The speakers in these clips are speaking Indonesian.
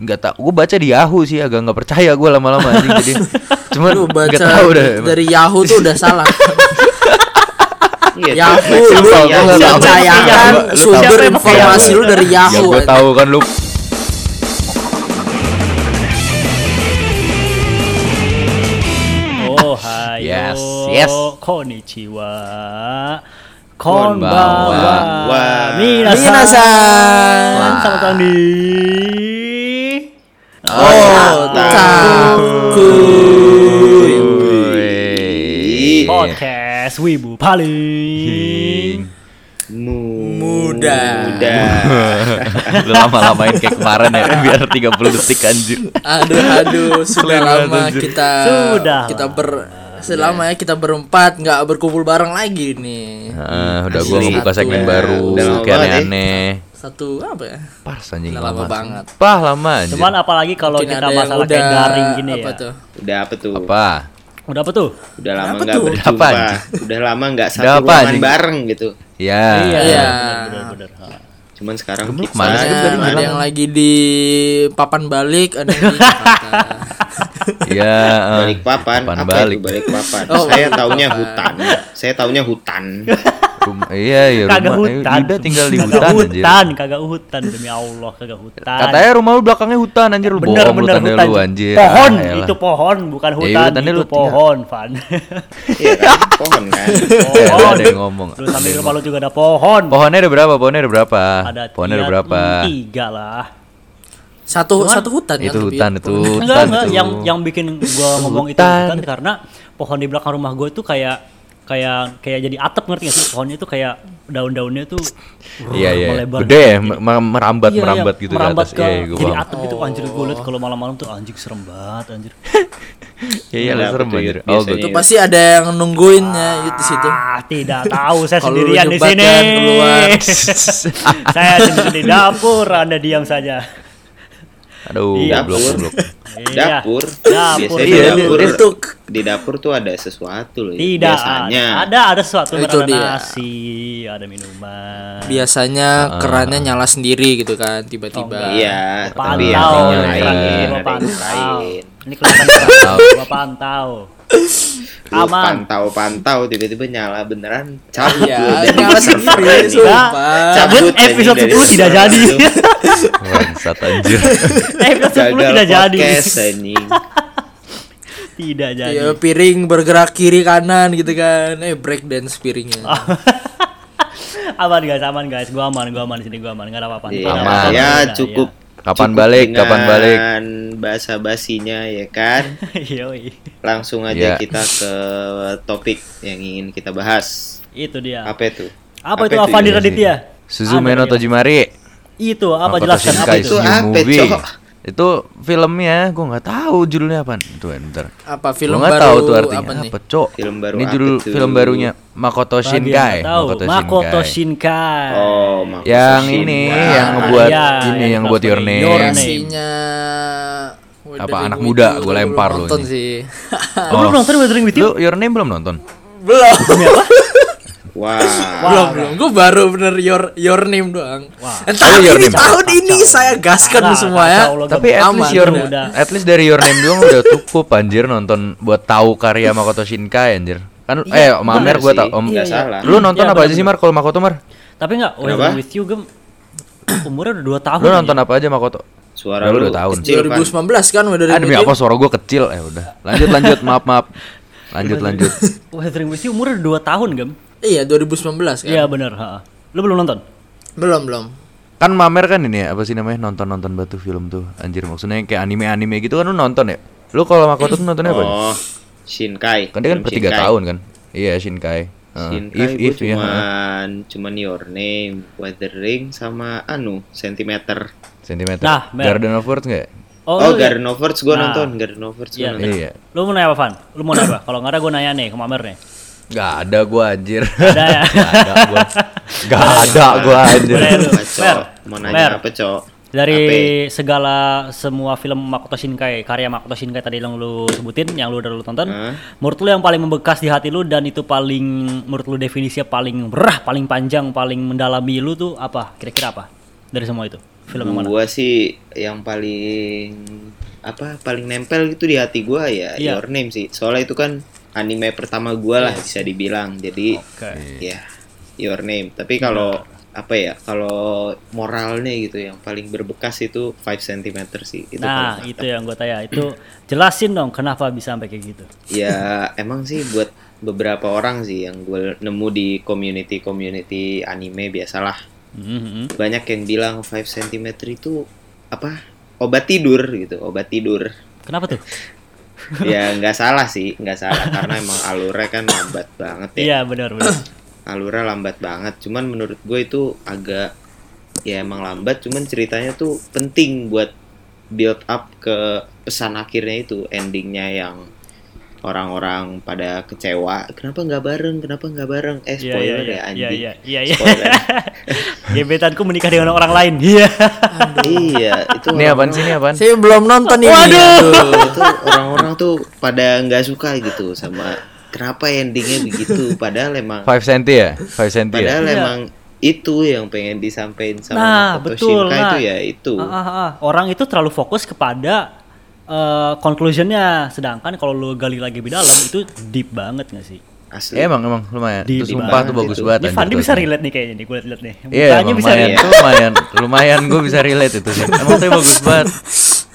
nggak tak gue baca di Yahoo sih agak nggak percaya gue lama-lama anjing jadi cuman Lu baca nggak tahu dah emang. dari Yahoo tuh udah salah. Iya, Yahoo Siapa Ya yang tahu? Oh, lu yang- siapa yang percayakan pakai Lu Yahoo? tahu. sumber Siapa yang pakai informasi Yahoo? lu dari ya Yahoo. gue anjing. tahu kan lu Ohayo. Yes, yes. Konnichiwa. Konbanwa. Konbanwa. Minasan. Minasan. Selamat datang di Oh, oh, Wih. podcast Wibu Paling. Muda. Ya. Lu lama-lamain kayak kemarin ya biar 30 detik anjir Aduh aduh sudah lama anjir. kita Sudah kita ber selama ya kita berempat nggak berkumpul bareng lagi nih. Heeh, udah gua Asli. mau buka segmen Iya, baru udah lama kayak banget ya. aneh-aneh Satu apa ya? Pars anjing Udah lama banget. Pah lama anjir Cuman apalagi kalau Mungkin kita ada yang masalah kayak udah- daring gini apa ya. tuh? Udah apa tuh? Apa? Udah apa tuh? Udah lama Apa nggak tuh? Apa, berjumpa. anjing? Udah lama nggak Udah satu apa, ruangan anjing? bareng gitu. Ya Iya. Bener-bener. Cuman sekarang kita kemana sih? Ada, Tadi ada bilang. yang lagi di papan balik, ada yang di Jakarta. Ya eh. balik papan. Papan Apa balik. itu balik papan? Oh, Saya balik taunya papan. hutan. Saya taunya hutan. Rum- Iya iya Kagak rumah eh, hutan. Yuda tinggal di Kagak hutan anjir hutan, kagak hutan demi Allah, kagak hutan. Katanya rumah lu belakangnya hutan anjir lu bener bohong lu bener tanda hutan. lu anjir pohon Ah, elah. itu pohon bukan iya, hutan tanda itu lu- pohon Van Iya kan? Pohon kan. Eh, pohon ada yang ngomong. terus sambil rumah lu juga ada pohon Pohonnya ada berapa? Pohonnya ada berapa? ada Pohonnya ada tiga- berapa? hmm, tiga lah Satu satu hutan kan, Itu tapi hutan itu enggak hutan enggak itu. yang yang bikin gua ngomong itu Hutan. hutan karena pohon di belakang rumah gua itu kayak kayak kayak jadi atap ngerti gak sih pohonnya itu kayak daun-daunnya tuh rrrr, Iya iya. melebar Gede ya, me- me- merambat Iya, iya, merambat gitu di merambat atas. ke, Iya, iya, gua jadi paham. atap itu anjir gue Oh. liat kalau malam-malam tuh anjing serem banget anjir Iya iya lah, Nah, serem itu anjir. biasanya. Oh, gua- Itu pasti ada yang nungguin ya yuk, di situ. Ah, tidak tahu saya Kalau sendirian lu di nyebat sini. jangan keluar. saya sendiri di dapur, Anda diam saja. Aduh, Iya, goblok dapur. goblok. Iya. Dapur. Dapur. Biasanya Iya, di dapur. itu Di dapur tuh ada sesuatu loh. Tidak Biasanya. ada ada sesuatu Itu ada dia. nasi, ada Iya, minuman. Ah. Biasanya kerannya nyala sendiri gitu kan Oh, tiba-tiba. Iya. Tapi yang Pantau, iya. lain. ini Ada yang kelihatan gua pantau. lain. Ini kelihatan gua- gua pantau. Lu Aman. pantau-pantau tiba-tiba nyala beneran cabut Iya, lu dari nyala server sendiri, gitu. ini. sumpah. Cabut Cabut ini episode dari 10 tidak server jadi. lu. Bangsat anjir. Iya, Episode 10 Gagal tidak jadi. podcast anjing. Tidak jadi. Iya, piring bergerak kiri kanan gitu kan. Eh break dance piringnya. Ah. aman guys, aman guys. Gua aman, gua aman di sini, gua aman. Enggak ada apa-apa. Iya, Tidak ada aman. apa-apa, ya tidak, cukup Kapan cukup balik? Kapan dengan balik? bahasa basinya ya kan iya. Yoi. langsung Iya. aja kita ke topik yang ingin kita bahas Itu dia. apa itu Iya. Apa itu Apa itu Avandi ya? Raditya? Suzume no Ada yang- Tojimari. Itu apa Makoto jelaskan apa Shinkai itu? Itu Suzume apa, Movie. Cok? Itu filmnya gua nggak tahu judulnya apa. Tuh, bentar. Apa Gua film nggak baru tahu tuh artinya apa nih? apa, Cok. Film baru Ini apa judul tuh? film barunya Makoto Bagi yang nggak Shinkai. tahu, Makoto Shinkai. Shinkai. oh Makoto yang Shinkai. ini yang ngebuat Iya, ini yang yang ngebuat your ngebuat name. Your Name. Versinya Waduh, Apa, anak gua muda? itu Gua belum lempar lu Nonton ini. sih. Lu belum nonton Weathering with You? Oh. Lu your name belum nonton? belum. wah belum belum. Gue baru bener your your name doang. Entah Oh, Your ini Name. tahun ini saya gaskan Kacau, semua ya. kacau, lo Tapi gabut. at Aman, least your, udah. at least dari your name doang udah cukup anjir nonton buat tahu karya Makoto Shinkai anjir. Kan eh Om Amer gua tau Om. nggak salah Lu nonton Iya, apa aja sih Mar kalau Makoto Mar? Tapi enggak Weathering with You gem umurnya udah 2 tahun. ya. Lu nonton apa aja Makoto? suara Udah, lu lu udah tahun. kecil Van. 2019 kan udah Ah demi apa suara gua kecil eh udah. Lanjut lanjut maaf maaf. Lanjut lanjut. Weathering with You umurnya udah 2 tahun, Gem. Iya 2019 Ya. kan. Iya, benar, heeh. Lu belum nonton? Belum belum. Kan Mamer kan ini ya, apa sih namanya nonton-nonton batu film tuh. Anjir maksudnya yang kayak anime-anime gitu kan lu nonton ya? Lu kalau Makoto tuh nontonnya apa? oh Shinkai Kan dia kan Film per 3 Shinkai. tahun kan. Iya Shinkai. Heeh. Shinkai gua if if ya. heeh. cuman cuman your name weathering sama anu sentimeter Centimeter. Nah, Mer. Garden of Words enggak? oh, lu- Garden of Words gua Nah. nonton Garden of Words gua Iya. nonton Iya. Lu mau nanya apa, Van? Lu mau nanya apa? Kalau enggak ada gua nanya nih ke Mamer nih. Gak ada gua anjir. Ada ya? Gak ada gua. Gak ada gua anjir. Boleh lu. Apa, Cok? Mer. Mau Mer. nanya apa, Cok? ya? Dari segala semua film Makoto Shinkai, karya Makoto Shinkai tadi yang lu sebutin, yang lu udah lu tonton, Hah? menurut lu yang paling membekas di hati lu dan itu paling menurut lu definisinya paling berah, paling panjang, paling mendalami lu tuh apa? Kira-kira apa? Dari semua itu. Film yang mana? Gua sih yang paling apa paling nempel gitu di hati gua ya Iya. Your Name sih. Soalnya itu kan anime pertama gua lah bisa dibilang. Jadi Iya. Oke. Iya. ya Your Name. Tapi kalau apa ya kalau moralnya gitu yang paling berbekas itu 5 cm sih itu Nah, paling itu yang gue tanya. Itu jelasin dong kenapa bisa sampai kayak gitu. ya emang sih buat beberapa orang sih yang gue nemu di community community anime biasalah Mhm. banyak yang bilang 5 cm itu apa obat tidur gitu obat tidur Kenapa tuh? ya nggak salah sih nggak salah karena emang alurnya kan lambat banget ya Iya, benar benar. alurnya lambat banget cuman menurut gue itu agak ya emang lambat cuman ceritanya tuh penting buat build up ke pesan akhirnya itu endingnya yang orang-orang pada kecewa kenapa nggak bareng kenapa nggak bareng eh Iya, iya, spoiler iya. ya Iya, anjing iya, iya, iya. Spoiler. Gebetanku menikah dengan orang lain. Iya. iya itu Ini apaan sih ini apaan? Saya belum nonton ini. Waduh. orang-orang tuh- itu orang-orang tuh pada nggak suka gitu sama kenapa endingnya begitu padahal emang 5 cm ya? 5 cm ya? padahal Iya. emang itu yang pengen disampaikan sama Nah, Makoto betul, Shinkai nah. itu ya itu Ah, ah, ah. Orang itu terlalu fokus kepada eh, conclusion-nya sedangkan kalau lu gali lagi lebih dalam itu deep banget gak sih? asli Eh, emang emang lumayan. Di- Itu di sumpah banget tuh bagus itu. banget. Ini anjir, Fandi tuh. bisa relate nih kayaknya nih gue liat nih. Iya, Mukanya emang bisa lumayan, relate. lumayan, lumayan gue bisa relate itu sih. Emang tapi bagus banget.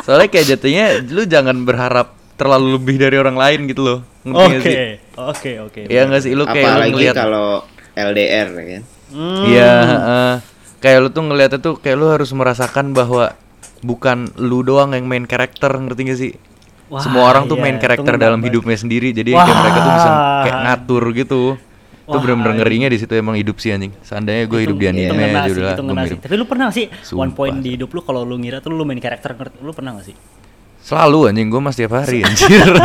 Soalnya kayak jatuhnya lu jangan berharap terlalu lebih dari orang lain gitu loh. Ngerti nggak Oke, sih? oke, oke. Iya nggak sih? Lu kayak lu apalagi ngeliat, kalau LDR ya kan iya, Hmm. heeh. kayak lu tuh ngeliatnya tuh kayak lu harus merasakan bahwa bukan lu doang yang main karakter, ngerti gak sih? Wah, Semua orang tuh iya, main itu karakter ngena dalam banget. hidupnya sendiri, jadi kayak Wah. mereka tuh bisa kayak ngatur gitu. Itu Wah, bener-bener ngerinya di situ emang hidup sih anjing. Seandainya gue hidup di Itu anime ngena aja sih, udah itu gue ngena sih. mirip. Tapi lu pernah gak sih one Sumpah. point di hidup lu kalau lu ngira tuh lu main karakter ngerti lu pernah gak sih? Selalu anjing gue mas tiap hari anjir.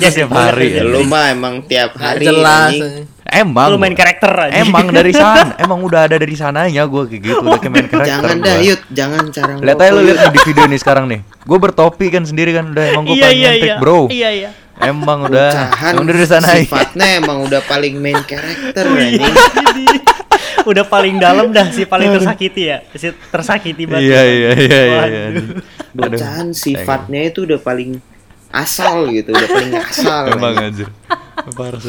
ya tiap hari. Ya, anjing. lu mah emang tiap Nggak hari jelas. anjing. Emang. Lu main gua- karakter aja. Emang dari sana, emang udah ada dari sananya gue kayak gitu, udah kayak main karakter. jangan gua. dah yut jangan cara Lihat aja lu lihat nih di video ini sekarang nih. Gue bertopi kan sendiri kan udah emang gue Iya, paling iya, nyentik, iya. bro. Iya, iya. Emang udah Ucahan emang dari sana iya. aja. sifatnya emang udah paling main karakter Wih, anjing. jadi udah paling dalam dah si paling tersakiti ya si tersakiti banget Iya iya iya iya. iya. Waduh. Aduh, Bocahan sifatnya itu udah paling asal gitu, udah paling asal. Emang anjing. anjir.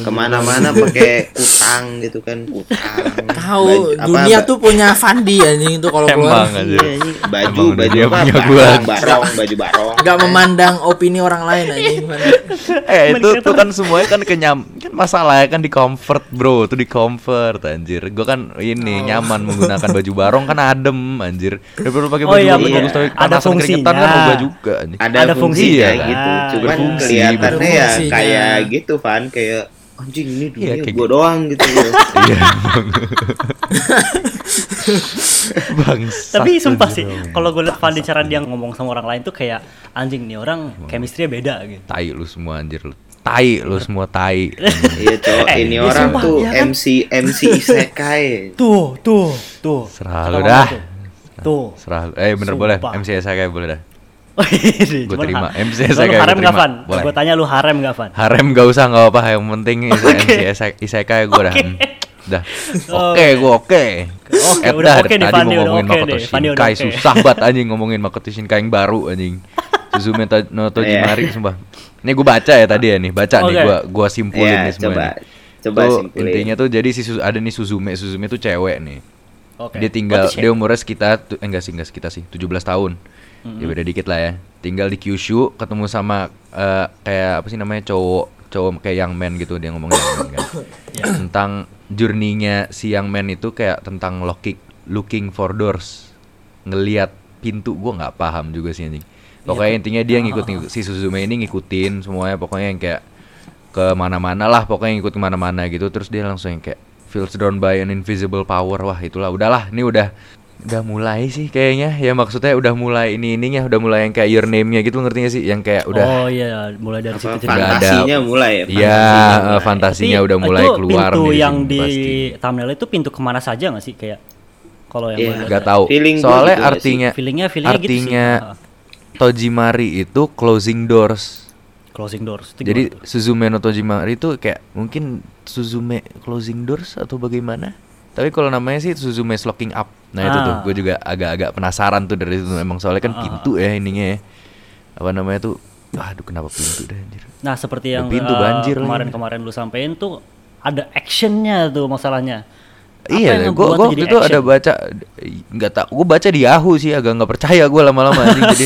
Kemana-mana pakai kutang gitu kan, kutang. Tahu Baju- apa, dunia ba- tuh punya Fandi anjing itu kalau Emang keluar. anjir. iya, anjing. baju Emang udah baju dia apa? punya barong, gua. barong, baju barong. Gak memandang opini orang lain anjing. Fandi. Eh itu tuh kan semuanya kan kenyam kan masalahnya kan di comfort bro tuh di comfort anjir gue kan Oh. ini nyaman menggunakan baju barong kan adem anjir daripada lu pakai Oh, baju iya, barong betul. bagus tapi Ada panasan fungsinya. keringetan kan berubah juga anjir Iya, kan? Ada, Ada fungsinya fungsinya. gitu, Ah, cuman ya? berfungsi, Iya, kelihatannya ya berfungsinya. kayak gitu Van, kayak anjing ini dunia kayak gua doang gitu. iya emang. Bangsat, tapi sumpah anjir, sih emang. kalau gue liat Fandi cara dia ngomong sama orang lain tuh kayak anjing nih orang chemistry beda gitu tai lu semua anjir lu tai lu semua tai Iya cowok, Eh, ini ya iya, orang sumpah, tuh iya kan? MC MC isekai. tuh tuh tuh Serah Kata lu mama dah. tuh. tuh serah lu. eh bener boleh Sumpah. MCS kayak boleh dah Gue Gua terima. MC saya Lu kayak harem gua terima. gak Van? Boleh. Gue tanya lu harem gak Van? harem gak usah gak apa-apa yang penting is- MCS isekai gue dah Oke. Oh, Hmm. dah oke gue oke Oke, Eh, dah, udah oke nih, tadi Fandi, mau udah ngomongin oke Makoto nih, Fandi udah Shinkai oke. susah banget anjing ngomongin Makoto Shinkai yang baru anjing Suzume Ta- no Iya. Tojimari sumpah ini gue baca ya tadi ya nih baca nih Oke. gue gua simpulin Iya, nih semua coba. nih. Coba Tuh, simpulin. intinya tuh jadi si Su- ada nih Suzume Suzume tuh cewek nih Oke. ya? dia tinggal What the dia shit? umurnya sekitar tu- eh, enggak sih enggak sekitar sih 17 tahun. Ya beda dikit lah ya. Tinggal di Kyushu ketemu sama eh, kayak apa sih namanya cowok cowok kayak young man gitu dia ngomong young man kan. tentang journey-nya si young man itu kayak tentang looking looking for doors. Ngeliat pintu gua nggak paham juga sih anjing. Pokoknya intinya dia ngikutin si Suzume ini ngikutin semuanya pokoknya yang kayak ke mana-mana lah pokoknya ngikut kemana-mana gitu terus dia langsung yang kayak feels down by an invisible power wah itulah udahlah ini udah udah mulai sih kayaknya ya maksudnya udah mulai ini ininya udah mulai yang kayak your name-nya gitu ngerti gak sih yang kayak udah Oh iya, mulai dari Apa, situ Udah ada- fantasinya mulai ya, Iya, fantasinya eh, mulai. fantasinya Tapi udah mulai itu keluar pintu nih yang sini, di pasti. thumbnail itu pintu kemana saja gak sih kayak kalau yang Iya. gua lihat nggak ya. tahu Feeling gua soalnya gitu gak sih? artinya Feelingnya- feelingnya gitu sih. artinya Ah. Tojimari itu closing doors closing doors itu jadi gimana tuh? Suzume no Tojimari itu kayak mungkin Suzume closing doors atau bagaimana Tapi kalau namanya sih Suzume's Locking Up. Nah itu Ah. tuh, gue juga agak-agak penasaran tuh dari itu emang soalnya kan Ah, ah, pintu ya ininya ya. Apa namanya tuh? Aduh kenapa pintu dah anjir. Nah seperti Ya, yang pintu eh, banjir lagi. kemarin-kemarin lu sampein tuh ada actionnya tuh masalahnya. Apa yang Iya, gue ngebuat gue tuh waktu jadi itu ada action? baca nggak tak gue baca di Yahoo sih agak nggak percaya gue lama-lama anjing jadi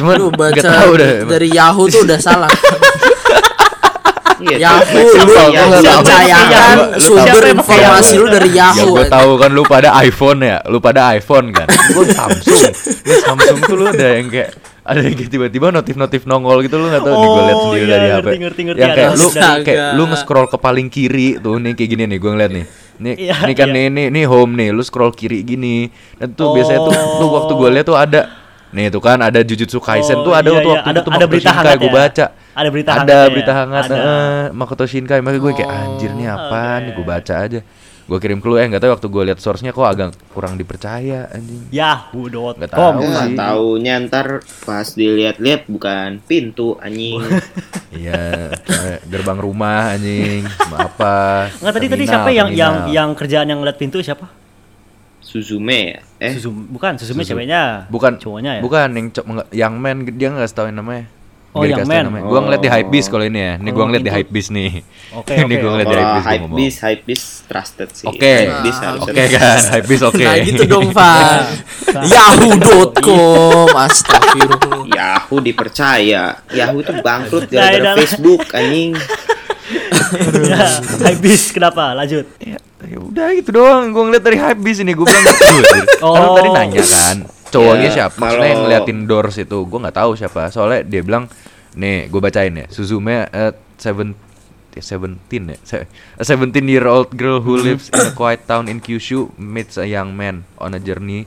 cuman Lu nggak baca tahu dah emang. dari Yahoo tuh udah salah. Iya, Yahoo, tapi- lu Siapa? Ya Lu tahu? percayakan Lu tahu? sumber Siapa yang pakai informasi Yahoo? lu dari Ya Yahoo. eh. gue tahu kan lu pada iPhone ya, lu pada iPhone kan. Gue Samsung. Lu Samsung tuh lu ada yang kayak ada yang kayak tiba-tiba notif-notif nongol gitu lu nggak tahu nih gue lihat Oh, sendiri iya, dari HP. ngerti, ngerti, ngerti. Yang kayak Ada lu notif. kayak lu Astaga. nge-scroll ke paling kiri tuh nih kayak gini nih gue ngeliat nih. Nih, Iya, nih kan iya. nih, nih nih home nih, lu scroll kiri gini. Dan tuh biasanya tuh lu waktu gue lihat tuh ada Nih tuh kan ada Jujutsu Kaisen Oh, tuh ada iya, waktu iya. waktu Ada- itu ada Makoto berita Shinkai hangat gue ya? baca. Ada berita ada hangatnya ya? berita hangat. Ada. Oh, eh, Makoto Shinkai makanya gue kayak anjir nih apaan nih gue baca aja. Gue kirim clue eh nggak tahu waktu gue lihat source-nya kok agak kurang dipercaya anjing. Nggak Yahoo.com. tahu. Nggak sih. taunya ntar pas dilihat-lihat bukan pintu anjing. Iya, kayak gerbang rumah anjing, sama apa? Enggak tadi tadi terminal, siapa yang yang terminal. yang kerjaan yang ngeliat pintu siapa? Suzume ya? Eh, Suzu- bukan Suzume ceweknya. bukan cowoknya ya. Bukan yang co- nggak- yang man dia nggak tahu namanya. Oh, yang man. Gue ngeliat di Oh. hype kalau ini ya. Ini gue Kalau ngeliat di itu- hype nih. Oke, Ini oke, gue ngeliat di hype kalau gue hype ngomong. bis, hype bis trusted sih. Oke. Hype bis harusnya Oke kan, hype oke. Nah gitu dong, Van. Yahoo.com Astagfirullah. Yahoo dipercaya. Yahoo tuh bangkrut Percaya gara-gara Nah, dalam- Facebook anjing. Ya, Habis kenapa? Lanjut. Ya, ya udah gitu doang. Gue ngeliat dari hype ini gue bilang gitu. Oh. Karena tadi nanya kan, cowoknya Ya, siapa? Maksudnya yang kalau- ngeliatin doors itu, gue nggak tahu siapa. Soalnya dia bilang, nih gue bacain ya, Suzume at seven ya, 17 ya Se- A 17 year old girl who lives in a quiet town in Kyushu meets a young man on a journey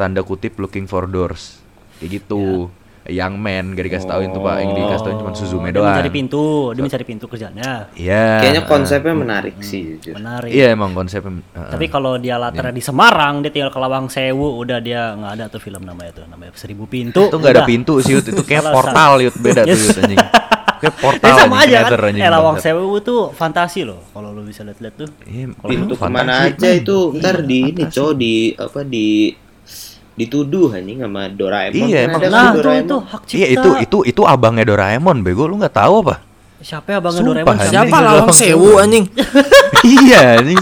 tanda kutip looking for doors kayak gitu Iya. a young man gak dikasih tauin tuh pak yang dikasih tauin cuma Suzume Oh. Dia doang mencari pintu, dia mencari pintu kerjaannya. iya Kayaknya eh, konsepnya menarik sih jujur. Menarik. iya emang konsepnya eh, Tapi kalau dia latarnya di Semarang, dia tinggal ke Lawang Sewu, udah dia nggak ada tuh film namanya tuh, namanya Seribu Pintu. itu nggak ada udah. pintu sih Yud. itu kayak Salah, portal yut beda tuh Yud, anjing kayak portal Ya sama anjing, aja kan. nether, anjing, Eh Lawang bangsat. Sewu tuh fantasi loh, kalau lu bisa lihat-lihat tuh. Iya, Kalau Pintu fantasi. kemana aja Hmm, itu iya, ntar di ini cow di apa di dituduh anjing sama Doraemon. Iya, Kan emang. ada Nah, tuh tuh Doraemon. itu hak cipta. iya itu itu itu abangnya Doraemon bego lu nggak tahu apa Siapa ya abangnya Sumpah, Doraemon? anjing. Siapa Ini lawang doang. sewu anjing? iya anjing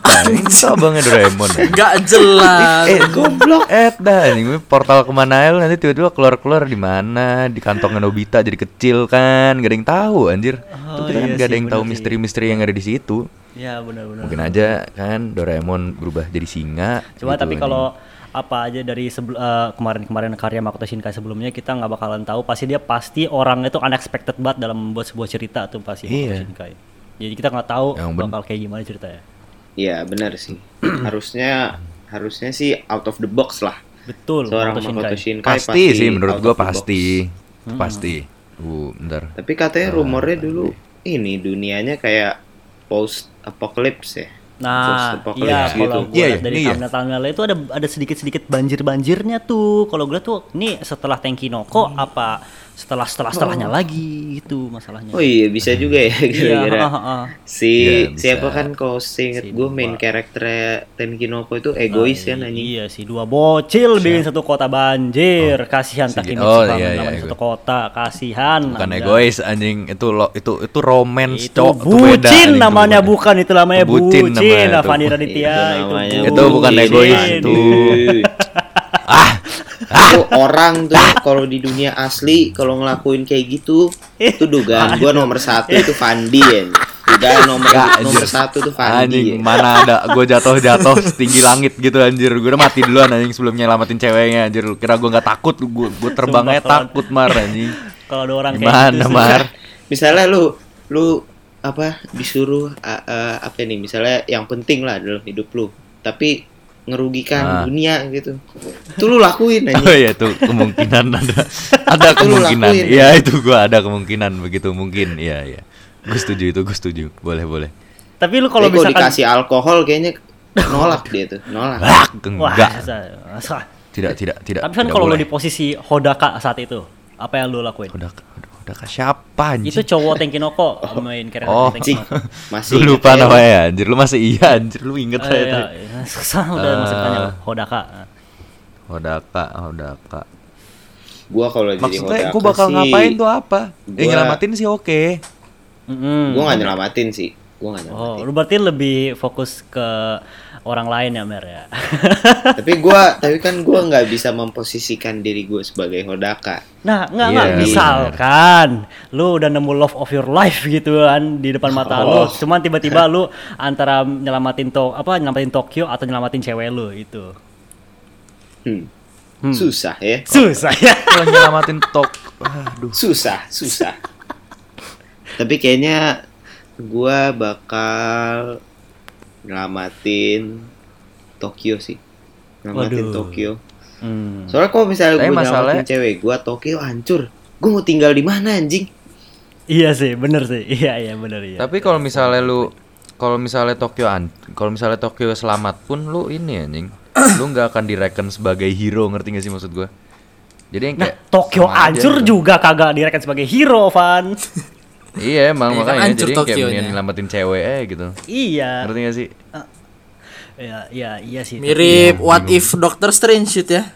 Nah, ini tuh abangnya Doraemon anjing. Gak jelas. eh goblok eh dah anjing portal kemana aja lu nanti tiba-tiba keluar-keluar di mana di kantongnya Nobita jadi kecil kan gak ada yang tahu anjir Oh, Tuh kita kan iya gak ada sih, yang bener tahu sih. misteri-misteri yang ada di situ Ya benar-benar. mungkin aja kan Doraemon berubah jadi singa Cuma gitu, tapi anjing. kalau apa aja dari sebel- eh, kemarin-kemarin karya Makoto Shinkai sebelumnya kita nggak bakalan tahu pasti dia pasti orangnya tuh unexpected banget dalam membuat sebuah cerita tuh pasti Makoto Iya. Shinkai. Jadi kita nggak tahu Yang ben- bakal kayak gimana ceritanya. Iya, benar sih. harusnya harusnya sih out of the box lah. Betul, Seorang Makoto Shinkai. Makoto Shinkai pasti sih menurut out gua of the box. Hmm. pasti pasti uh bentar Tapi katanya rumornya dulu iya. ini dunianya kayak post apocalypse ya. Nah, Post-apocalypse iya kalau gitu. gue Iya, lihat iya, dari iya. thumbnail-thumbnail itu ada ada sedikit-sedikit banjir-banjirnya tuh. Kalau gue tuh nih setelah Tenki Noko apa setelah setelah setelahnya lagi itu masalahnya. Oh iya bisa juga ya gara-gara Iya, ah, ah, ah. si Iya, bisa. siapa kan kalau seinget Si gue main dua. karakter Tenkinoko itu egois kan anjing. Nah, Iya sih, dua bocil bikin satu kota banjir. Kasihan Segi- Takimitsu oh, bangun iya, iya, namanya iya. satu kota, kasihan. bukan Anda. egois anjing itu lo itu itu romance Itu cok itu beda, anjing, bucin itu namanya bukan. bukan itu namanya Itu bucin bucin. namanya itu. Fani Raditya itu. Iya, namanya Itu bukan bullshit. egois, itu. ah Itu orang tuh kalau di dunia asli kalau ngelakuin kayak gitu itu dugaan gue nomor satu itu Fandi ya. Dugaan nomor Nggak, nomor anjing. satu itu anjing Fandi. ya. mana ada gue jatuh jatuh setinggi langit gitu anjir gue udah mati duluan anjing sebelum nyelamatin ceweknya anjir Lu kira gue nggak takut gue gue terbangnya Sumpah, takut mar anjing Kalau ada orang kayak gimana gitu. mar Misalnya lu lu apa disuruh uh, uh, apa nih misalnya yang penting lah dalam hidup lu tapi Ah. ngerugikan dunia gitu. Itu lu lakuin anjing. Oh iya itu kemungkinan ada ada Itu lu kemungkinan. lakuin. Iya itu gua ada kemungkinan begitu mungkin. Iya iya. Gue setuju itu gue setuju. Boleh boleh. Tapi lu kalau Tapi kalau misalkan dikasih alkohol kayaknya nolak dia tuh, nolak. Ah, Wah, enggak. sa- sa- Tidak tidak tidak. Tapi kan tidak kalau lu boleh. di posisi Hodaka saat itu, apa yang lu lakuin? Udah- udah- udah Kaka siapa anjing? Itu cowok Tenkinoko main keren Oh. Cing, Tenkinoko. masih Lu ingat lupa saya, namanya ya, anjir. Lu masih iya, anjir. Lu inget Eh, saya Eh. iya, tadi. iya. Susah udah masih tanya Hodaka. Hodaka, Hodaka. Gua kalau jadi Maksudnya Hodaka gue bakal sih, ngapain tuh apa? Ya gua- nyelamatin sih oke. Mm-mm. Gua nggak nyelamatin sih. Gua nggak nyelamatin. Oh, lu berarti lebih fokus ke orang lain ya, Mer ya. tapi gua tapi kan gua nggak bisa memposisikan diri gue sebagai hodaka Nah, Iya, enggak enggak bener. misalkan lu udah nemu love of your life gitu kan di depan mata Oh. lu, cuman tiba-tiba lu antara nyelamatin to apa nyelamatin Tokyo atau nyelamatin cewek lu itu. Hmm. Hmm. susah ya Susah ya. Kalau nyelamatin tok, aduh. susah susah tapi kayaknya gua bakal nyelamatin Tokyo sih nyelamatin Waduh. Tokyo Hmm. soalnya kalau misalnya Tapi gue nyelamatin masalahnya- cewek gua Tokyo hancur gue mau tinggal di mana anjing Iya sih, bener sih. Iya, iya bener iya. Tapi kalau misalnya lu kalau misalnya Tokyo an, kalau misalnya Tokyo selamat pun lu ini anjing. lu nggak akan direken sebagai hero, ngerti gak sih maksud gue? Jadi yang Nah, kayak Tokyo sama aja hancur gitu. juga kagak direkan sebagai hero, Van. Iya emang Iya, kan makanya hancur jadi yang kayak Tokyonya. mendingan nyelamatin cewek eh gitu. iya. Ngerti gak sih? Iya, iya, iya sih. Mirip What If Doctor Strange shit ya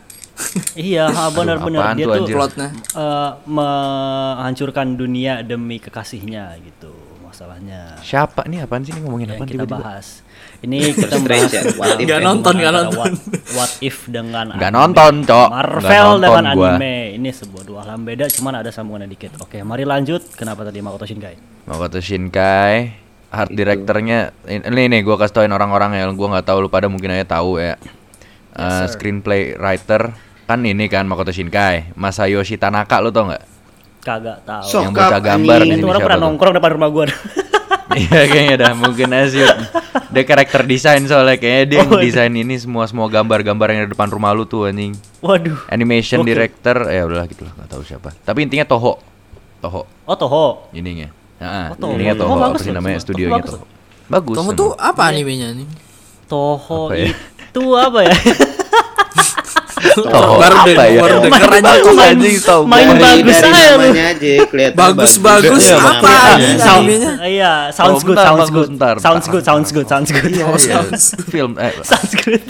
Iya, ha, benar-benar apaan tuh, dia tuh anjir? plotnya. eh, menghancurkan dunia demi kekasihnya gitu masalahnya. Siapa nih apaan sih nih ngomongin Yang apaan Ya, kita tiba-tiba? bahas. Ini kita Strange membahas ya, what tentang if Nggak ya, nonton, hubungan nggak antara nonton. What, what if dengan Nggak anime. nonton, Cok. Marvel Nggak nonton dengan gua. anime. Ini sebuah dua hal yang beda cuman ada sambungannya dikit. Oke, mari lanjut. Kenapa tadi Makoto Shinkai? Makoto Shinkai art directornya ini nih gue kasih tauin orang-orang ya gue nggak tahu lu pada mungkin aja tahu ya Eh, screenplay writer kan ini kan Makoto Shinkai Masayoshi Tanaka lu tau nggak Kagak tahu. Sok yang bocah up, gambar di anjing. sini Itu orang siapa pernah tuh? nongkrong depan rumah gua. Iya kayaknya dah mungkin aja sih. Dia karakter desain soalnya kayaknya dia yang Oh, iya. desain ini semua semua gambar-gambar yang ada depan rumah lu tuh anjing. Waduh. Animation Oke. director ya udahlah gitu lah nggak tahu siapa. Tapi intinya Toho. Toho Oh, Toho. ininya. Heeh, Oh, Toho. ininya Toho, Oh, apa bagus sih loh, namanya Toho. studionya Bagus Toho. Bagus. Kamu emang. tuh Iya. apa animenya nih? Toho Apa ya? itu apa ya? Toho Baru deh, apa ya? baru deh, keren aja Bagus tuh. anjing Toho. main dari, bagus dari aja lu. namanya aja kelihatan Bagus-bagus Iya, apa makanya. anjing Sound- Eh, animenya? Iya, Oh, sounds good, bentar, sounds Bang, good. bentar. Sounds good, sounds good, sounds good. Iya, film eh, Sounds good.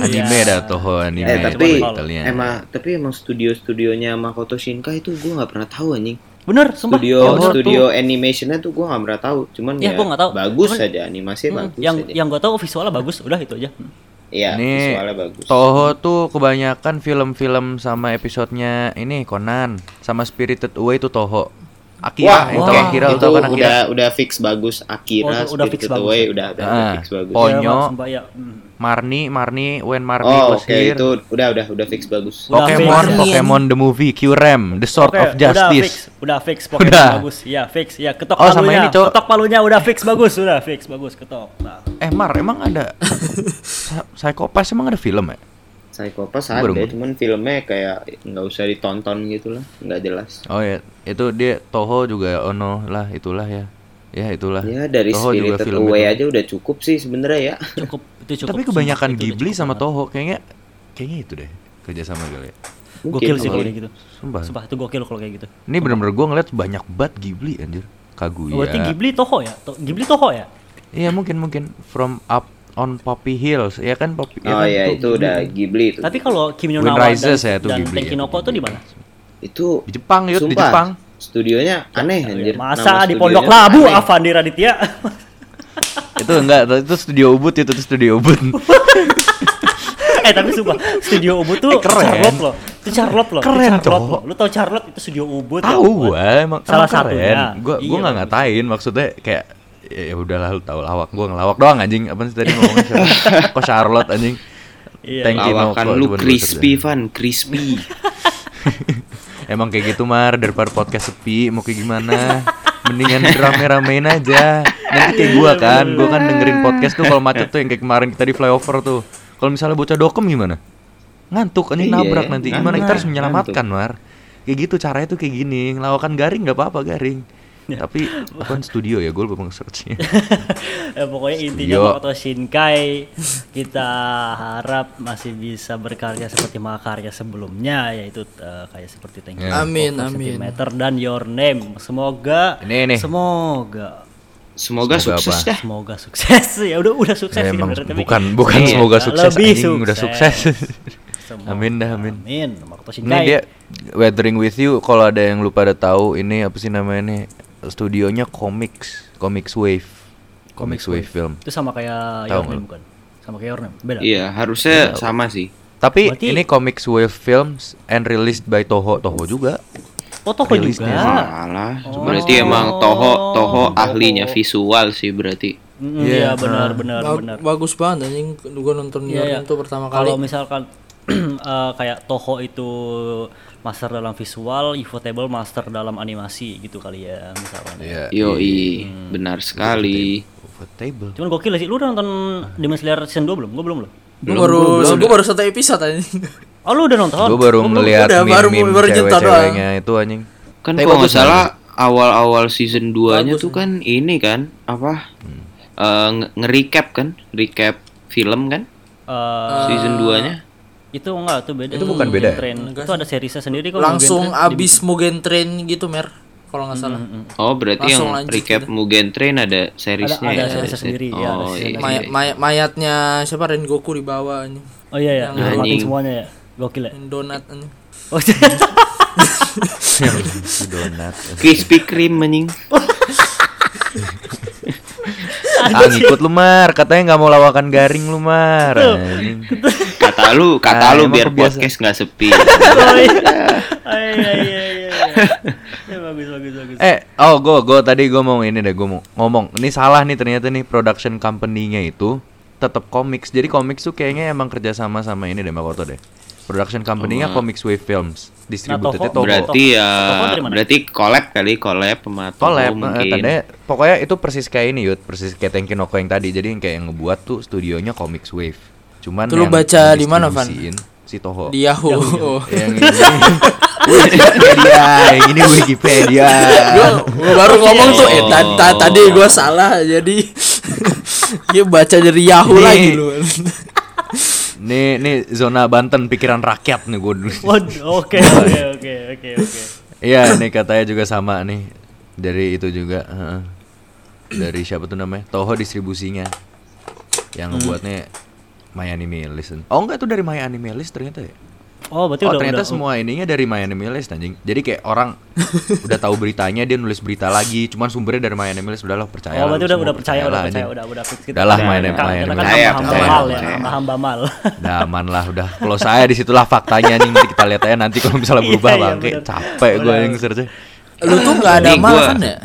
anime dah Toho anime. Iya. iya, eh tapi Italian. emang tapi emang studio-studionya Makoto Shinkai itu gua nggak pernah tahu anjing Bener, sumpah. ya studio Toho studio animationnya tuh gue nggak pernah tahu cuman ya, Iya, gua nggak tahu. bagus Cuman- aja animasi Hmm, bagus yang aja yang gue tahu visualnya bagus, udah itu aja. iya Ini visualnya bagus Toho tuh kebanyakan film-film sama episodenya ini Conan sama Spirited Away tuh Toho. Akira yang tahu wah, Akira lu itu tahu kan Akira. udah udah fix bagus Akira Oh, udah fix Spirited bagus. Away udah udah, udah Ah, fix bagus Ponyo. Iya, Bang, sumpah, iya. Hmm. Marni, Marni, When Marni oh was oke here. itu udah udah udah fix bagus Udah Pokemon, fix. Pokemon the movie, Kyurem, The Sword Oke, of Udah fix, Justice. udah fix Pokemon Udah. bagus. Ya, fix. Ya, ketok Oh, sama ini, palunya. Cok. ketok palunya udah fix bagus, udah fix bagus ketok. Nah. Eh Mar, emang ada Sa- Psycho Pass emang ada film ya? Psychopass ada Belum. cuman filmnya kayak nggak usah ditonton gitu lah nggak jelas Oh ya, itu dia Toho juga ono lah itulah ya. Ya itulah. ya dari Spirited Away aja udah cukup sih sebenarnya ya Cukup itu cukup. Tapi kebanyakan Sumpah, itu udah Ghibli cukup sama banget. Toho kayaknya kayaknya itu deh kerjasama kali ya. Gokil sih kalau mungkin. kayak gitu. Sumpah. Sumpah itu gokil kalau kayak gitu. Ini bener-bener gue ngeliat banyak banget Ghibli anjir Kaguya Berarti Ghibli Toho ya? To- Ghibli Toho ya? Iya mungkin mungkin From up on Poppy Hills Ya kan Poppy oh kan, ya itu udah Ghibli itu Tapi kalau Kimi no Wind Nawa dan, Rises ya, itu dan Ghibli ya, Tenkinoko itu tuh di Ghibli. mana? itu Di Jepang yuk di Jepang Iya, studionya aneh anjir Iya, Masa Nama di Pondok studionya Labu aneh. Avandi Raditya? Itu enggak itu studio Ubud itu, itu studio Ubud eh tapi sumpah studio Ubud Eh, tuh keren. Charlotte loh. Itu Charlotte loh. itu Keren, Charlotte cowok. loh. Lu tau Charlotte itu studio Ubud Tahu ya, gue emang Salah emang keren. satunya. Gue Iya, gue nggak bagus. ngatain maksudnya kayak ya ya udahlah lu tahu lawak gue ngelawak doang anjing apa sih tadi ngomongin Charlotte? kok Charlotte anjing Iya. Thank you, Lawakan Noko. lu Cuman gua crispy kerjain. Van, crispy. Emang kayak gitu Mar, daripada podcast sepi mau kayak gimana Mendingan rame-ramein aja Nanti kayak gua kan, gua kan dengerin podcast tuh kalau macet tuh yang kayak kemarin kita di flyover tuh Kalau misalnya bocah dokem gimana? Ngantuk, ini Iya, nabrak nanti Gimana ngantuk. kita harus menyelamatkan Mar Kayak gitu caranya tuh kayak gini, ngelawakan garing gak apa-apa garing Tapi bukan studio ya, gue lupa nge-searchnya. Eh, pokoknya intinya Studio. Makoto Shinkai kita harap masih bisa berkarya seperti mahakarya sebelumnya yaitu eh, kayak seperti Thank You Ya. Amin, for amin. Centimeter dan Your Name. Semoga Ini, ini. semoga Semoga, Semoga sukses apa? dah. semoga sukses. ya udah udah sukses sih Iya, Emang sebenarnya, tapi- bukan bukan Iya, semoga sukses, lebih anjing, udah sukses. sukses. Semoga. amin dah, amin. Amin. Ini Makoto Shinkai. dia Weathering with You kalau ada yang lu pada tahu ini apa sih namanya nih? Studionya Comics, Comics Wave. Comics Wave Film. Itu sama Tahu kayak Your nggak Name lu? bukan? Sama kayak Your Name. Beda. Iya, harusnya sama sih. Tapi Berarti- ini Comics Wave Films and released by Toho, Toho juga. Oh, Toho Rilisnya sih. juga. Salah. Oh. Berarti emang Toho Toho Toho. ahlinya visual sih berarti. Mm, Iya. Iya, benar benar Ba- benar. bagus banget anjing gue nonton Iya, iya. Yorin tuh pertama Kalau kali misalkan eh, kayak Toho itu master dalam visual, Ufotable master dalam animasi gitu kali ya misalnya. Iya. Yoi, benar sekali. Overtable. Cuman gokil sih, lu udah nonton Demon Slayer season 2 belum? Gue belum loh. gue baru gue baru satu episode anjing Oh lu udah nonton? Gue baru belum- ngeliat udah, baru- meme-meme baru nyentuh doang. cewek-ceweknya itu anjing. Kan Tapi kalau nggak bagus banget. salah awal-awal season 2-nya tuh kan ini kan apa? Hmm. Eh, nge- nge-recap kan? Recap film kan? Eh, season 2-nya. itu enggak, itu beda. Itu bukan beda ya? Train. Itu ada seriesnya sendiri kok. langsung Mugen Train. abis Mugen Train gitu mer kalau nggak salah Oh, berarti Langsung yang lanjut recap Mugen Train ada ada seriesnya ya. ada seriesnya sendiri ya, ada Oh, seriesnya. May- may- mayatnya siapa Rengoku di bawah anjing Oh iya ya, dihormatin Anjing. semuanya ya. Gokil ya. Yang donat anjing Oh, Si Donat. Krispy Kreme anjing. Ah ngikut lu Mar, katanya nggak mau lawakan garing lu Mar. Anjing. Kata lu, kata Ah, lu emang biar kebiasaan. podcast nggak sepi. Oh, iya. Oh, iya iya iya. iya. Ya bagus bagus bagus. Eh, oh gue gue tadi gue mau ini deh gue mau ngomong. Ini salah nih ternyata nih production company-nya itu tetap komiks. Jadi komiks tuh kayaknya emang kerjasama sama ini deh Makoto deh. Production company-nya Comics Wave Films, distributornya Toho. Toho. berarti ya Toko dari mana? berarti collab kali collab sama Toho Collab, eh, mungkin. tadinya- pokoknya itu persis kayak ini Yud, persis kayak Tenkinoko yang tadi. Jadi yang kayak yang ngebuat tuh studionya Comics Wave. Cuman Itu lu yang baca di mana, Van? distribusiin Si Toho. Iya, di Yahoo Oh. yang ini Wikipedia, yang ini Wikipedia. Gua- gua baru ngomong tuh eh, ta- ta- tadi gue salah jadi dia baca dari Yahoo Nih. lagi lu Nih, nih zona Banten pikiran rakyat nih gue dulu. Waduh, Oke oke oke oke oke. Iya, nih katanya juga sama nih dari itu juga heeh. dari siapa tuh namanya Toho distribusinya Hmm. yang ngebuatnya My Anime List. Oh enggak itu dari My Anime List ternyata ya. Oh berarti Oh udah ternyata udah- semua ininya dari My Anime List anjing. Jadi kayak orang udah tahu beritanya dia nulis berita lagi, cuman sumbernya dari My Anime List udah lo percaya. Oh lah, berarti lu udah semua udah percaya lah, udah percaya anjing. udah udah fix gitu. Udah lah, main- Karena- main- karena main. kan Percaya, hamba-hamba percaya, mal ya, percaya. hamba-hamba mal. Udah aman lah udah. Kalau saya disitulah faktanya nih nanti kita lihat aja nanti kalau misalnya Iya, berubah iya, bang. Kayak bener. capek gue Bener. yang search. lu tuh nggak ada Nih, mal gua- kan ya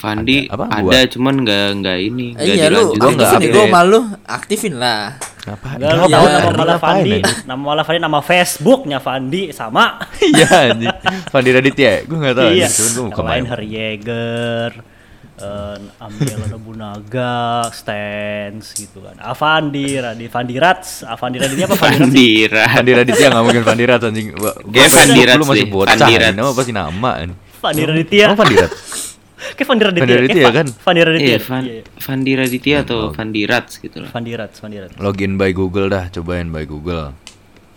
Fandi Ada apa? ada, Gua? cuman nggak nggak ini Eh, nggak iya lu Gua nggak aktifin deh gue update. malu aktifin lah Apa? Enggak lu tahu Iya, nama malah ngapain Fandi, ya? nama malah Fandi nama Facebooknya Fandi sama. Iya anjing. Fandi Raditya ya? Gue gak tau Iya. anjing, Cuman gue Yang buka main lain Her Yeager, eh, Amel Nobunaga, Stans gitu kan. Avandi, Radi, Fandi Rats, Avandi Rats ini apa Fandi Rats? sih? Fandira Fandi Raditya gak mungkin Fandi Rat anjing Gua- gua pengen Kayak Fandi Rat Lu masih sih, bocah Fandi anjing. Rat. Nama pasti nama anjing. Fandi Raditya. Emang Fandi Rat? Kayak Fandi Raditya. Fandi eh, Raditya Fa- kan? Fandi Raditya. iya Fan Iya, iya. Fandira Ditya oh. atau Fandirats gitu lah Fandi Rats, Fandi Rats. Login by Google dah Cobain by Google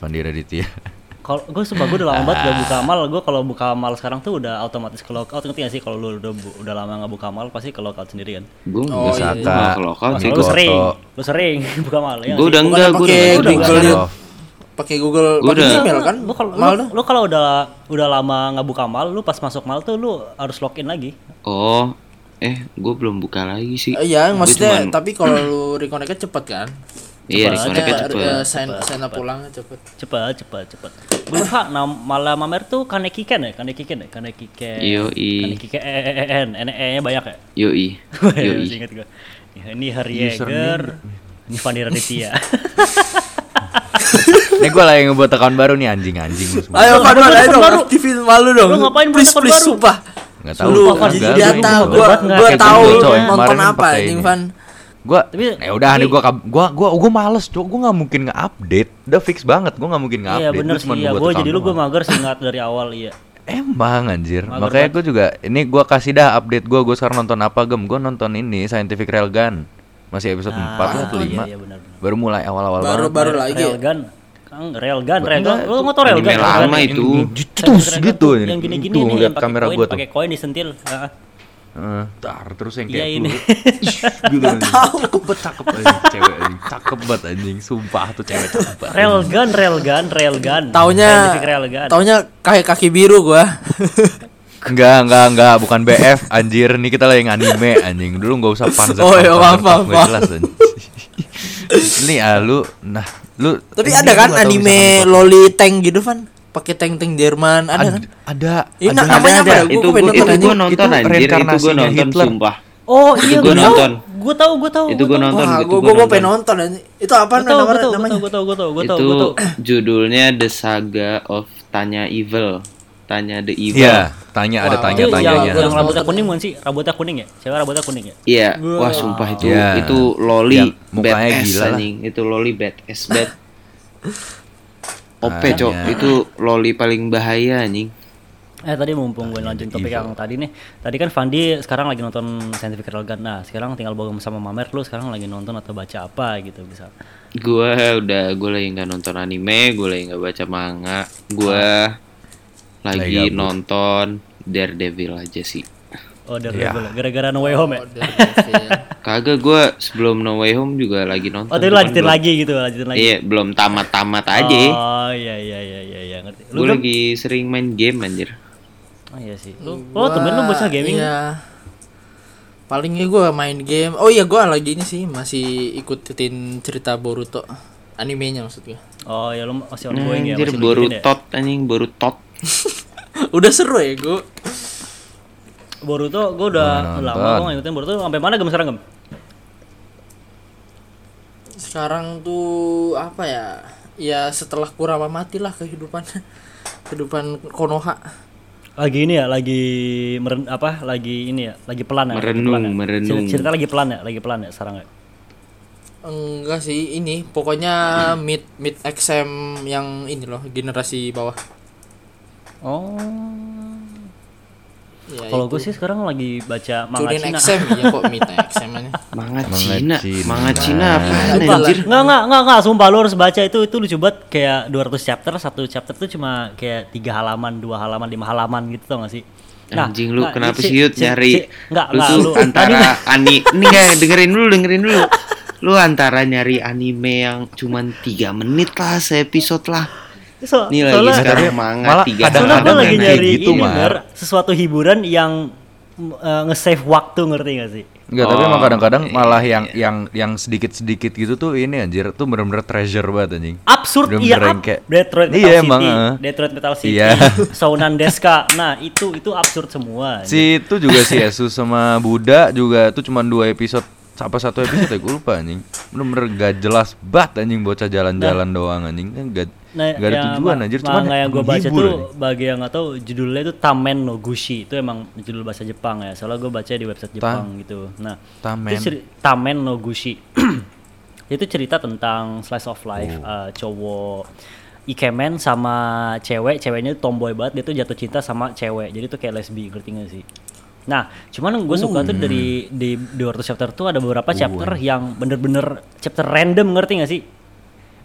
Fandi Raditya Kalau gue sumpah gue udah lama banget gak buka amal gue kalau buka amal sekarang tuh udah otomatis ke lockout ngerti gak sih kalau lu udah bu- udah lama gak buka amal pasti ke lockout sendiri kan gue nggak Oh, usah iya, iya. kalau kau sih Iya. lu Goto. sering lu sering buka amal ya gue udah enggak gue udah pakai nggak kan? Udah Google buka. nggak dia off. pakai Google Gua pakai udah- Gmail kan lu kalau mal lu, tuh lu kalau udah udah lama nggak buka amal lu pas masuk mal tuh lu harus login lagi oh eh gue belum buka lagi sih Eh, Iya, Gua maksudnya cuman- tapi kalau lu reconnect cepet kan? iya Cepet reconnect Maksudnya, cepet eh, sign sign up pulang cepet. cepet cepet cepet gue lupa nam malah mamer tuh kaneki ken ya kaneki ken ya kaneki ken Yoi. kaneki ken e e e n n e nya banyak ya yoi yoi Masih ingat gua. Ya, ini Harry Yeager ini Fandi Raditya Ini gue lagi ngebuat account baru nih anjing-anjing lu semua Ayo kan Lu ayo telepon dong baru. aktifin malu dong. Lu ngapain beli please, telepon please, baru? Sumpah. Nggak tahu Lu gua enggak, dia gua ini pakai tahu gua Google. gua Pakai tahu Google, lu coy. nonton Kemarin apa pakai anjing ini. Van. Gua Tapi- ya udah nih tapi- gua kab- gua gua gua males, Cok. Gua nggak mungkin nge-update. Udah fix banget gua nggak mungkin nge-update. Iya bener Gua sih, cuman iya. ngebuat Gue account jadi lu gue doang. mager sih ingat dari awal iya. Emang anjir. Mager Makanya banget. gue juga ini gua kasih dah update gua gue sekarang nonton apa gem. Gue nonton ini Scientific Railgun. Masih episode Ah, 4 atau 5. iya, iya, benar, benar. Baru mulai awal-awal Baru banget. baru lagi. kan? ya? Railgun. Kang, Railgun, Ba- Railgun. enggak, Lu nggak tau Railgun? anime Railgun. lama itu. Jitus Railgun gitu. tuh Yang gini-gini Tuh, nih, liat yang pakai kamera koin, gua tuh. pakai koin disentil. Ah, ah. Eh, tar terus yang Iya, kayak ini. dulu. Ih, gitu anjing. Cakep banget, cakep anjing cewek anjing. Cakep banget anjing. Sumpah tuh cewek cakep banget. Railgun, Railgun, Railgun. Taunya Scientific kan? Railgun. taunya kaki kaki biru gua. Enggak, enggak, enggak, bukan BF anjir. Nih kita lagi anime anjing. Dulu enggak usah panzer. Oh, iya, panzer, maaf, maaf, maaf. nggak jelas, anjing. Ini ah lu nah lu Tapi anjing, ada lu nggak kan tahu bisa anime nonton. loli tank gitu kan? Pakai tank-tank Jerman ada kan? Ad- ada Ini ada, namanya ada, apa Nah, ada. ya? Gua- itu gua pengen gua, nonton itu gua anjing. nonton Itu anjir itu gua reinkarnasinya nonton Hitler. sumpah Oh iya, gua gua tahu. nonton. Gua tahu, gua tahu. Itu gua nonton. Wah, gitu, gua gua gua gua nonton. pengen nonton anjing. Itu apa Gua tahu, gua namanya? tahu, gua namanya? tahu, gua tahu, gua tahu, gua tahu, itu gua tahu. judulnya The Saga of Tanya Evil Tanya the Evil Iya, tanya ada Wah, tanya Itu yang, tanyanya. yang rambutnya kuning bukan sih? Rambutnya kuning ya? Cewek rambutnya kuning ya? Iya, wah sumpah itu Iya. itu loli Ya, mukanya badass gila lah. anjing. Itu loli badass bad. OP Tanya. cok, itu loli paling bahaya anjing. Eh tadi mumpung gue lanjut topik yang tadi nih Tadi kan Fandi sekarang lagi nonton Scientific Railgun Nah sekarang tinggal bawa sama Mamer Lu sekarang lagi nonton atau baca apa gitu bisa Gua udah gua lagi nggak nonton anime, gua lagi nggak baca manga, Ah. gua lagi gabut. nonton Daredevil aja sih. Oh The Rebel Gara-gara No Way Home ya? Kagak gua sebelum No Way Home juga lagi nonton. Oh tadi cuman lanjutin belum- lagi gitu lanjutin lagi Iya, belum tamat-tamat aja. Oh iya iya iya iya iya, ngerti Lu Gua kan? lagi sering main game anjir. Oh iya sih Lu, lu temen lu bisa gaming Iya. Palingnya gua main game. Oh iya gua lagi ini sih masih ikutin cerita Boruto animenya maksud gua. Oh ya lu masih ongoing ya Anjir masih baru ngikutin ya? tot anjing baru tot. Udah seru ya gua. Boruto gue udah lama gue ngikutin Boruto Sampai mana gem sekarang gem? Sekarang tuh apa ya? Ya setelah Kurama matilah kehidupan kehidupan Konoha. Lagi ini ya lagi meren, apa lagi ini ya lagi pelan ya lagi Merenung, pelan ya? merenung. Cerita- cerita lagi pelan ya lagi pelan ya sekarang ya Enggak sih ini pokoknya mid mid XM yang ini loh generasi bawah. Oh. Ya, Kalau gue sih sekarang lagi baca manga Chunin Cina. XM ya kok mid XM -nya. Manga Manga Cina, Cina. manga Cina apaan Lupa. anjir? Enggak enggak enggak enggak sumpah lu harus baca itu itu lucu banget kayak 200 chapter satu chapter tuh cuma kayak tiga halaman, dua halaman, lima halaman gitu tau gak sih? Anjing lu nah, kenapa si- sih Yud si- nyari si- Enggak, lu enggak tuh lu tadi nah, antara ani nih ya dengerin dulu dengerin dulu. Lu antara nyari anime yang cuman 3 menit lah episode lah. so- Nih lagi soalnya- sekarang Tapi manga malah 3 Soalnya kadang-kadang gue lagi yang kayak nyari gitu, ini, Mar. Mar, sesuatu hiburan yang mm, eh, nge-save waktu ngerti gak sih? Enggak, tapi Oh, emang kadang-kadang iya. malah yang yang yang sedikit-sedikit gitu tuh ini anjir tuh bener-bener treasure banget anjing. Absurd iya Bener-bener yang ab- kayak- Detroit Metal Iya City, emang. eh. Detroit Metal City, Iya. Sonan Deska. Nah, itu itu absurd semua. Si itu juga si Yesus sama Buddha juga tuh cuman dua episode apa satu episode ya gue lupa anjing. Bener-bener gak jelas banget anjing bocah jalan-jalan doang anjing kan gak, gak ada Nah, yang tujuan Nah. ya, ma- anjir cuman manga yang gue baca menghibur, tuh anjing. bagi yang nggak tahu judulnya itu Tamen no Gushi itu emang judul bahasa Jepang ya soalnya gue baca di website Jepang gitu nah Tamen. itu ceri- Tamen no Gushi itu cerita tentang slice of life eh, cowok ikemen sama cewek ceweknya tuh tomboy banget dia tuh jatuh cinta sama cewek jadi tuh kayak lesbi ngerti gak sih nah cuman gue suka tuh dari di 200 chapter tuh ada beberapa chapter yang bener-bener chapter random ngerti gak sih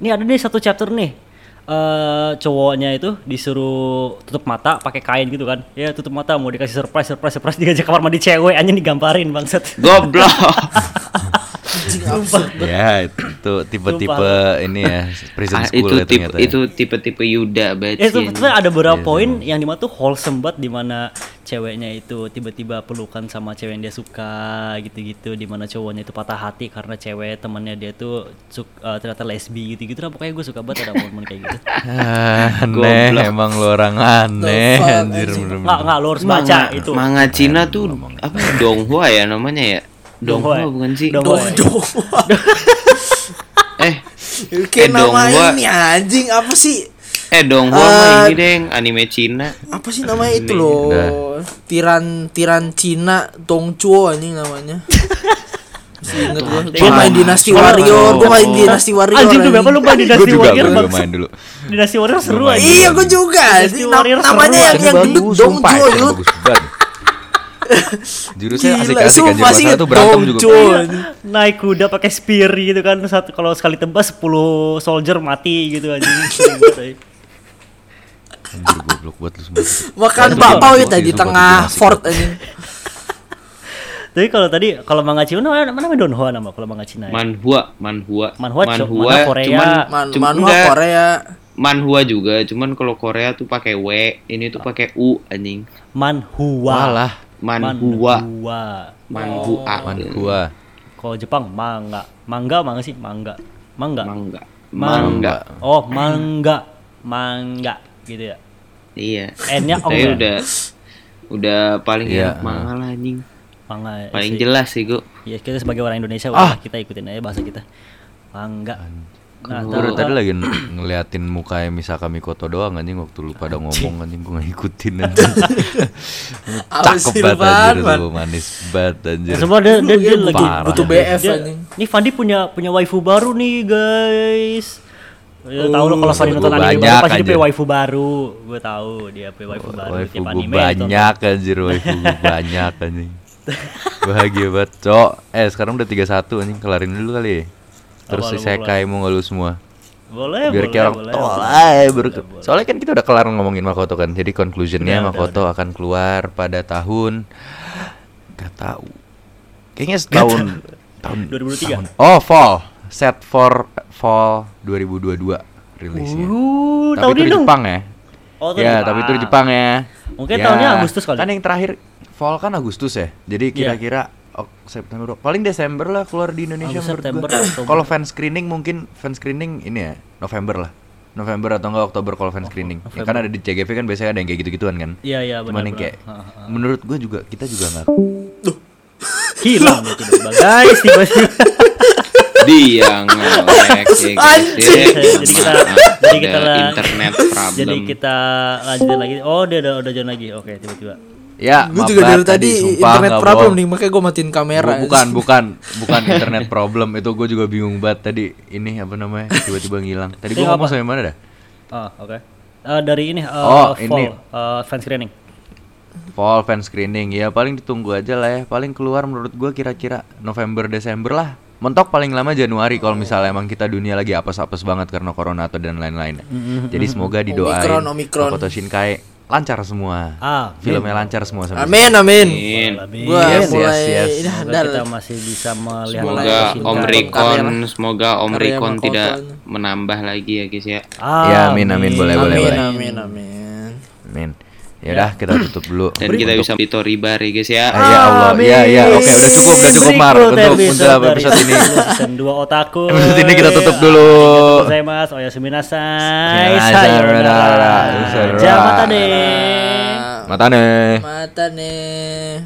ini ada nih satu chapter nih. eh cowoknya itu disuruh tutup mata pakai kain gitu kan. Ya tutup mata mau dikasih surprise surprise surprise diajak kamar mandi cewek anjing digamparin bangsat. Goblok. Ya itu tipe-tipe ini ya prison Ah, school itu ya tipe ternyata. ya. itu tipe-tipe Yuda Ya berarti. itu anjing. ada Iya, beberapa poin yang dimana tuh wholesome banget dimana ceweknya itu tiba-tiba pelukan sama cewek yang dia suka gitu-gitu dimana cowoknya itu patah hati karena cewek temannya dia tuh su- eh, ternyata lesbi gitu-gitu lah pokoknya gue suka banget ada momen kayak gitu. Ah, aneh emang lu orang aneh anjir bener-bener. Nggak, nggak, lo harus baca Manga, itu. manga Cina tuh apa Donghua ya namanya ya? Donghua Donghua. bukan sih? Donghua. Eh, Kayak Eh, dong, nama gua- ini anjing apa sih? eh Donghua mah Eh, ini Ah. deng anime Cina. Apa sih namanya itu loh? Tiran Tiran Cina Dongchuo anjing namanya. Ingat gua, Anjing. gua main Dinasti Warrior, gua main Dinasti Warrior. Anjing lu anjing. berapa lu main Dynasty juga Warrior? gue juga Bang? main dulu Dynasty Warrior seru main. aja. Iya, gua juga. Dinasti Nam- Warrior namanya seruan. yang yang gendut Bagus, dong sumpah, cuy itu lu. bagus banget. Jurusnya Gila, asik-asik anjir sumpah Kalau salah sih, tuh berantem dong, juga cuy. Iya. Naik kuda pakai spear gitu kan. Satu kalau sekali tebas 10 soldier mati gitu anjing. Seru banget, anjing. Anjir goblok buat lu semua Makan Itu bakpao bagus, ya tadi itu bagus, tengah itu asik. fort anjing. Tapi kalau tadi kalau manga Cina mana mana Don Juan nama kalau manga Cina. Ya? Manhua, Manhua, Manhua, co- Manhua Korea. cuman, Man cuman manhwa enggak, Korea. Manhua juga, cuman kalau Korea tuh pakai W, ini tuh pakai U anjing. Manhua. Walah Manhua, Manhua. Oh. Manhua, Man gua Kalau Jepang manga. Manga manga sih manga. Manga. mangga, Mangga. mangga. Oh, mangga. Mangga gitu ya. Iya. N-nya ong Tapi ya? udah udah paling Iya. enak manga lah anjing. Manga. Paling Iya sih. jelas sih gua. Ya kita sebagai orang Indonesia Ah. udah kita ikutin aja bahasa kita. Mangga. Nah, Gue dari tahu- tadi lagi ng- ngeliatin mukanya Misaka Mikoto doang anjing waktu lu pada ngomong anjing gue ngikutin anjing. Apa Cakep sih lu, banget anjir Van? lu, manis banget anjir. Ya, semua dia, Lu dia, dia ya lagi butuh- butuh BF Dia- anjing. Nih Fandi punya punya waifu baru nih guys. Ya, tahu lo kalau Fandi Waifu nonton anime baru Oh, banyak, pasti dia punya anjir. waifu baru. Gue tahu dia punya waifu baru. Waifu Tiap gue anime banyak anjir, waifu gue banyak anjing. Bahagia banget, cok. Eh, sekarang udah 31 anjing, kelarin dulu kali. Terus Apa, lu mau isekai mau nggak lu semua? ditonton. Boleh, Biar boleh, kayak orang boleh. tol boleh. Iya, ay, baru- Soalnya kan kita udah kelar ngomongin Makoto kan. Jadi conclusionnya Udah, udah, Makoto akan keluar pada tahun gak tahu. Kayaknya setahun tahun 2023. tahun- Oh, fall. Set for fall 2022 rilisnya. Uh, tapi tahu itu dia di dong. Jepang ya. Oh, itu di ya, tapi itu di Jepang ya. Mungkin Ya, tahunnya Agustus kali. Iya. Kan yang terakhir fall kan Agustus ya. Jadi kira-kira Ok- September paling Desember lah keluar di Indonesia Agustus, menurut gua. September, Oktober. Kalau fan screening mungkin fan screening ini ya November lah. November atau enggak Oktober kalau fan screening. Ya, kan ada di CGV kan biasanya ada yang kayak gitu-gituan kan. Oh, Iya, iya Cuman yang benar. kayak menurut gue juga kita juga nggak Hilang dia tiba-tiba. Guys, tiba-tiba. Dia ngelek ya gitu. Anjing. Jadi kita- jadi kita Ada lah- internet problem. Jadi kita lanjutin lagi. Oh, dia udah udah join lagi. Oke, tiba-tiba. Ya, Gue maaf juga dari banget tadi sumpah, internet nggak problem bohong. nih, makanya gua matiin kamera. Bu- bukan, bukan, bukan internet problem itu gue juga bingung banget tadi ini apa namanya tiba-tiba ngilang. Tadi gue Ini ngomong sampai mana dah? Ah, oke. Eh, dari ini eh, Oh, Fall, ini. eh, fan screening. Fall fan screening ya paling ditunggu aja lah ya paling keluar menurut gue kira-kira November Desember lah mentok paling lama Januari kalau misalnya emang kita dunia lagi apes-apes banget karena corona atau dan lain-lain jadi semoga didoain Omikron, Omikron. Makoto Shinkai lancar semua Ah, filmnya lancar semua sampai Amin amin. Amin. Gua Yes, mulai yes, yes. dah, Semoga dah kita lah. masih bisa melihat Semoga Mulai Om singkat. Rikon, Karya lah. semoga Om Karya Rikon Makoto tidak aja. menambah lagi ya guys ya. Ah, Ya, amin, amin. Boleh, boleh, Amin boleh. amin amin. Amin ya udah kita tutup dulu Dan kita bisa di Toribar ya guys Ah, ya. ya Allah ya ya oke udah cukup udah cukup Mar untuk episode untuk dari episode ini season 2 otaku. episode ini kita tutup dulu Saya Mas, oh ya seminasai. Iya, Sayonara. Iya, Sayonara. Iya. Jangan mata deh. Eh. Ah, mata nih Mata nih.